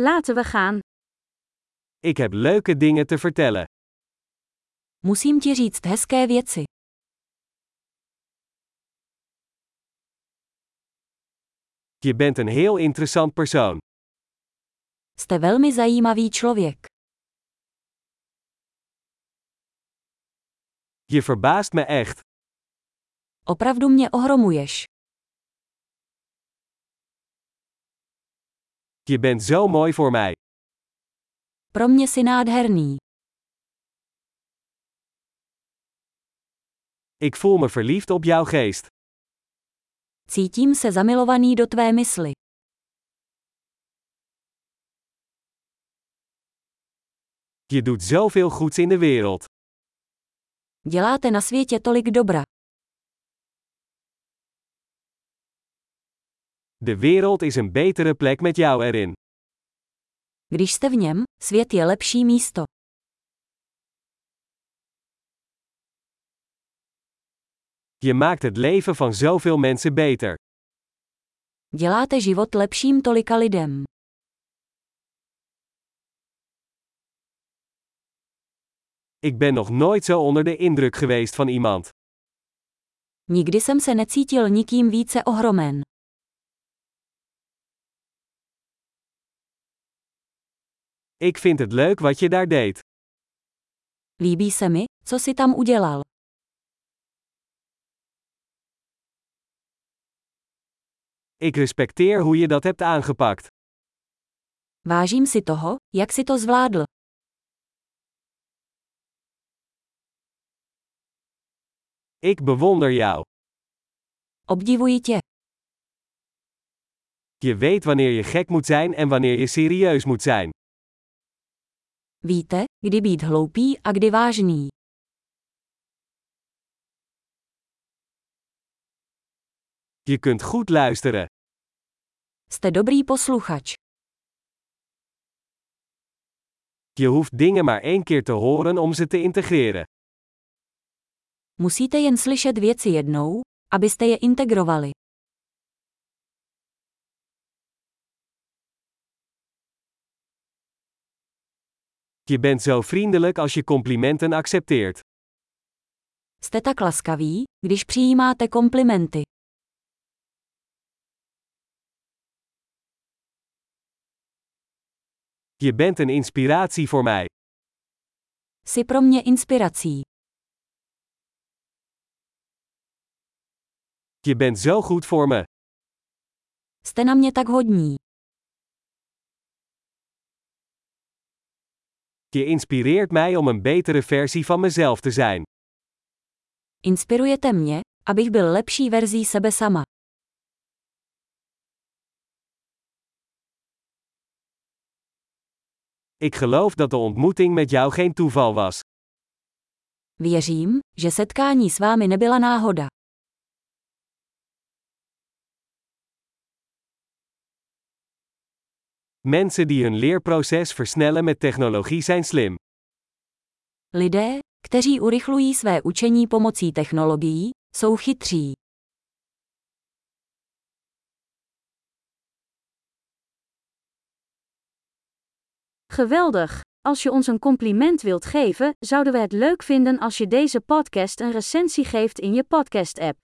Laten we gaan. Ik heb leuke dingen te vertellen. Musím ti říct hezké věci. Je bent een heel interessant persoon. Jste velmi zajímavý člověk. Je verbaast me echt. Opravdu mě ohromuješ. Je bent zo mooi voor mij. Pro mě si nádherný. Ik voel me verliefd op jouw geest. Cítím se zamilovaný do tvé mysli. Je doet zoveel goeds in de wereld. Děláte na světě tolik dobra. De wereld is een betere plek met jou erin. Když jste v něm, svět je lepší místo. Je maakt het leven van zoveel mensen beter. Děláte život lepším tolika lidem. Ik ben nog nooit zo onder de indruk geweest van iemand. Nikdy jsem se necítil nikým více ohromen. Ik vind het leuk wat je daar deed. Líbí se mi, co si tam udělal. Ik respecteer hoe je dat hebt aangepakt. Vážím si toho, jak si to zvládl. Ik bewonder jou. Obdivuji tě. Je weet wanneer je gek moet zijn en wanneer je serieus moet zijn. Víte, kdy být hloupý a kdy vážný. Je kunt goed luisteren. Jste dobrý posluchač. Je hoeft dingen maar één keer te horen om ze te integreren. Musíte jen slyšet věci jednou, abyste je integrovali. Je bent zo vriendelijk als je complimenten accepteert. Jste tak laskaví, když přijímáte komplimenty. Je bent een inspiratie voor mij. Jsi pro mě inspirací. Je bent zo goed voor me. Jste na mě tak hodní. Je inspireert mij om een betere versie van mezelf te zijn. Inspirujete mě, abych byl lepší verzí sebe sama. Ik geloof dat de ontmoeting met jou geen toeval was. Věřím, že setkání s vámi nebyla náhoda. Mensen die hun leerproces versnellen met technologie zijn slim. Lidé, kteří urychlují své učení pomocí technologií, jsou chytří. Geweldig! Als je ons een compliment wilt geven, zouden we het leuk vinden als je deze podcast een recensie geeft in je podcast-app.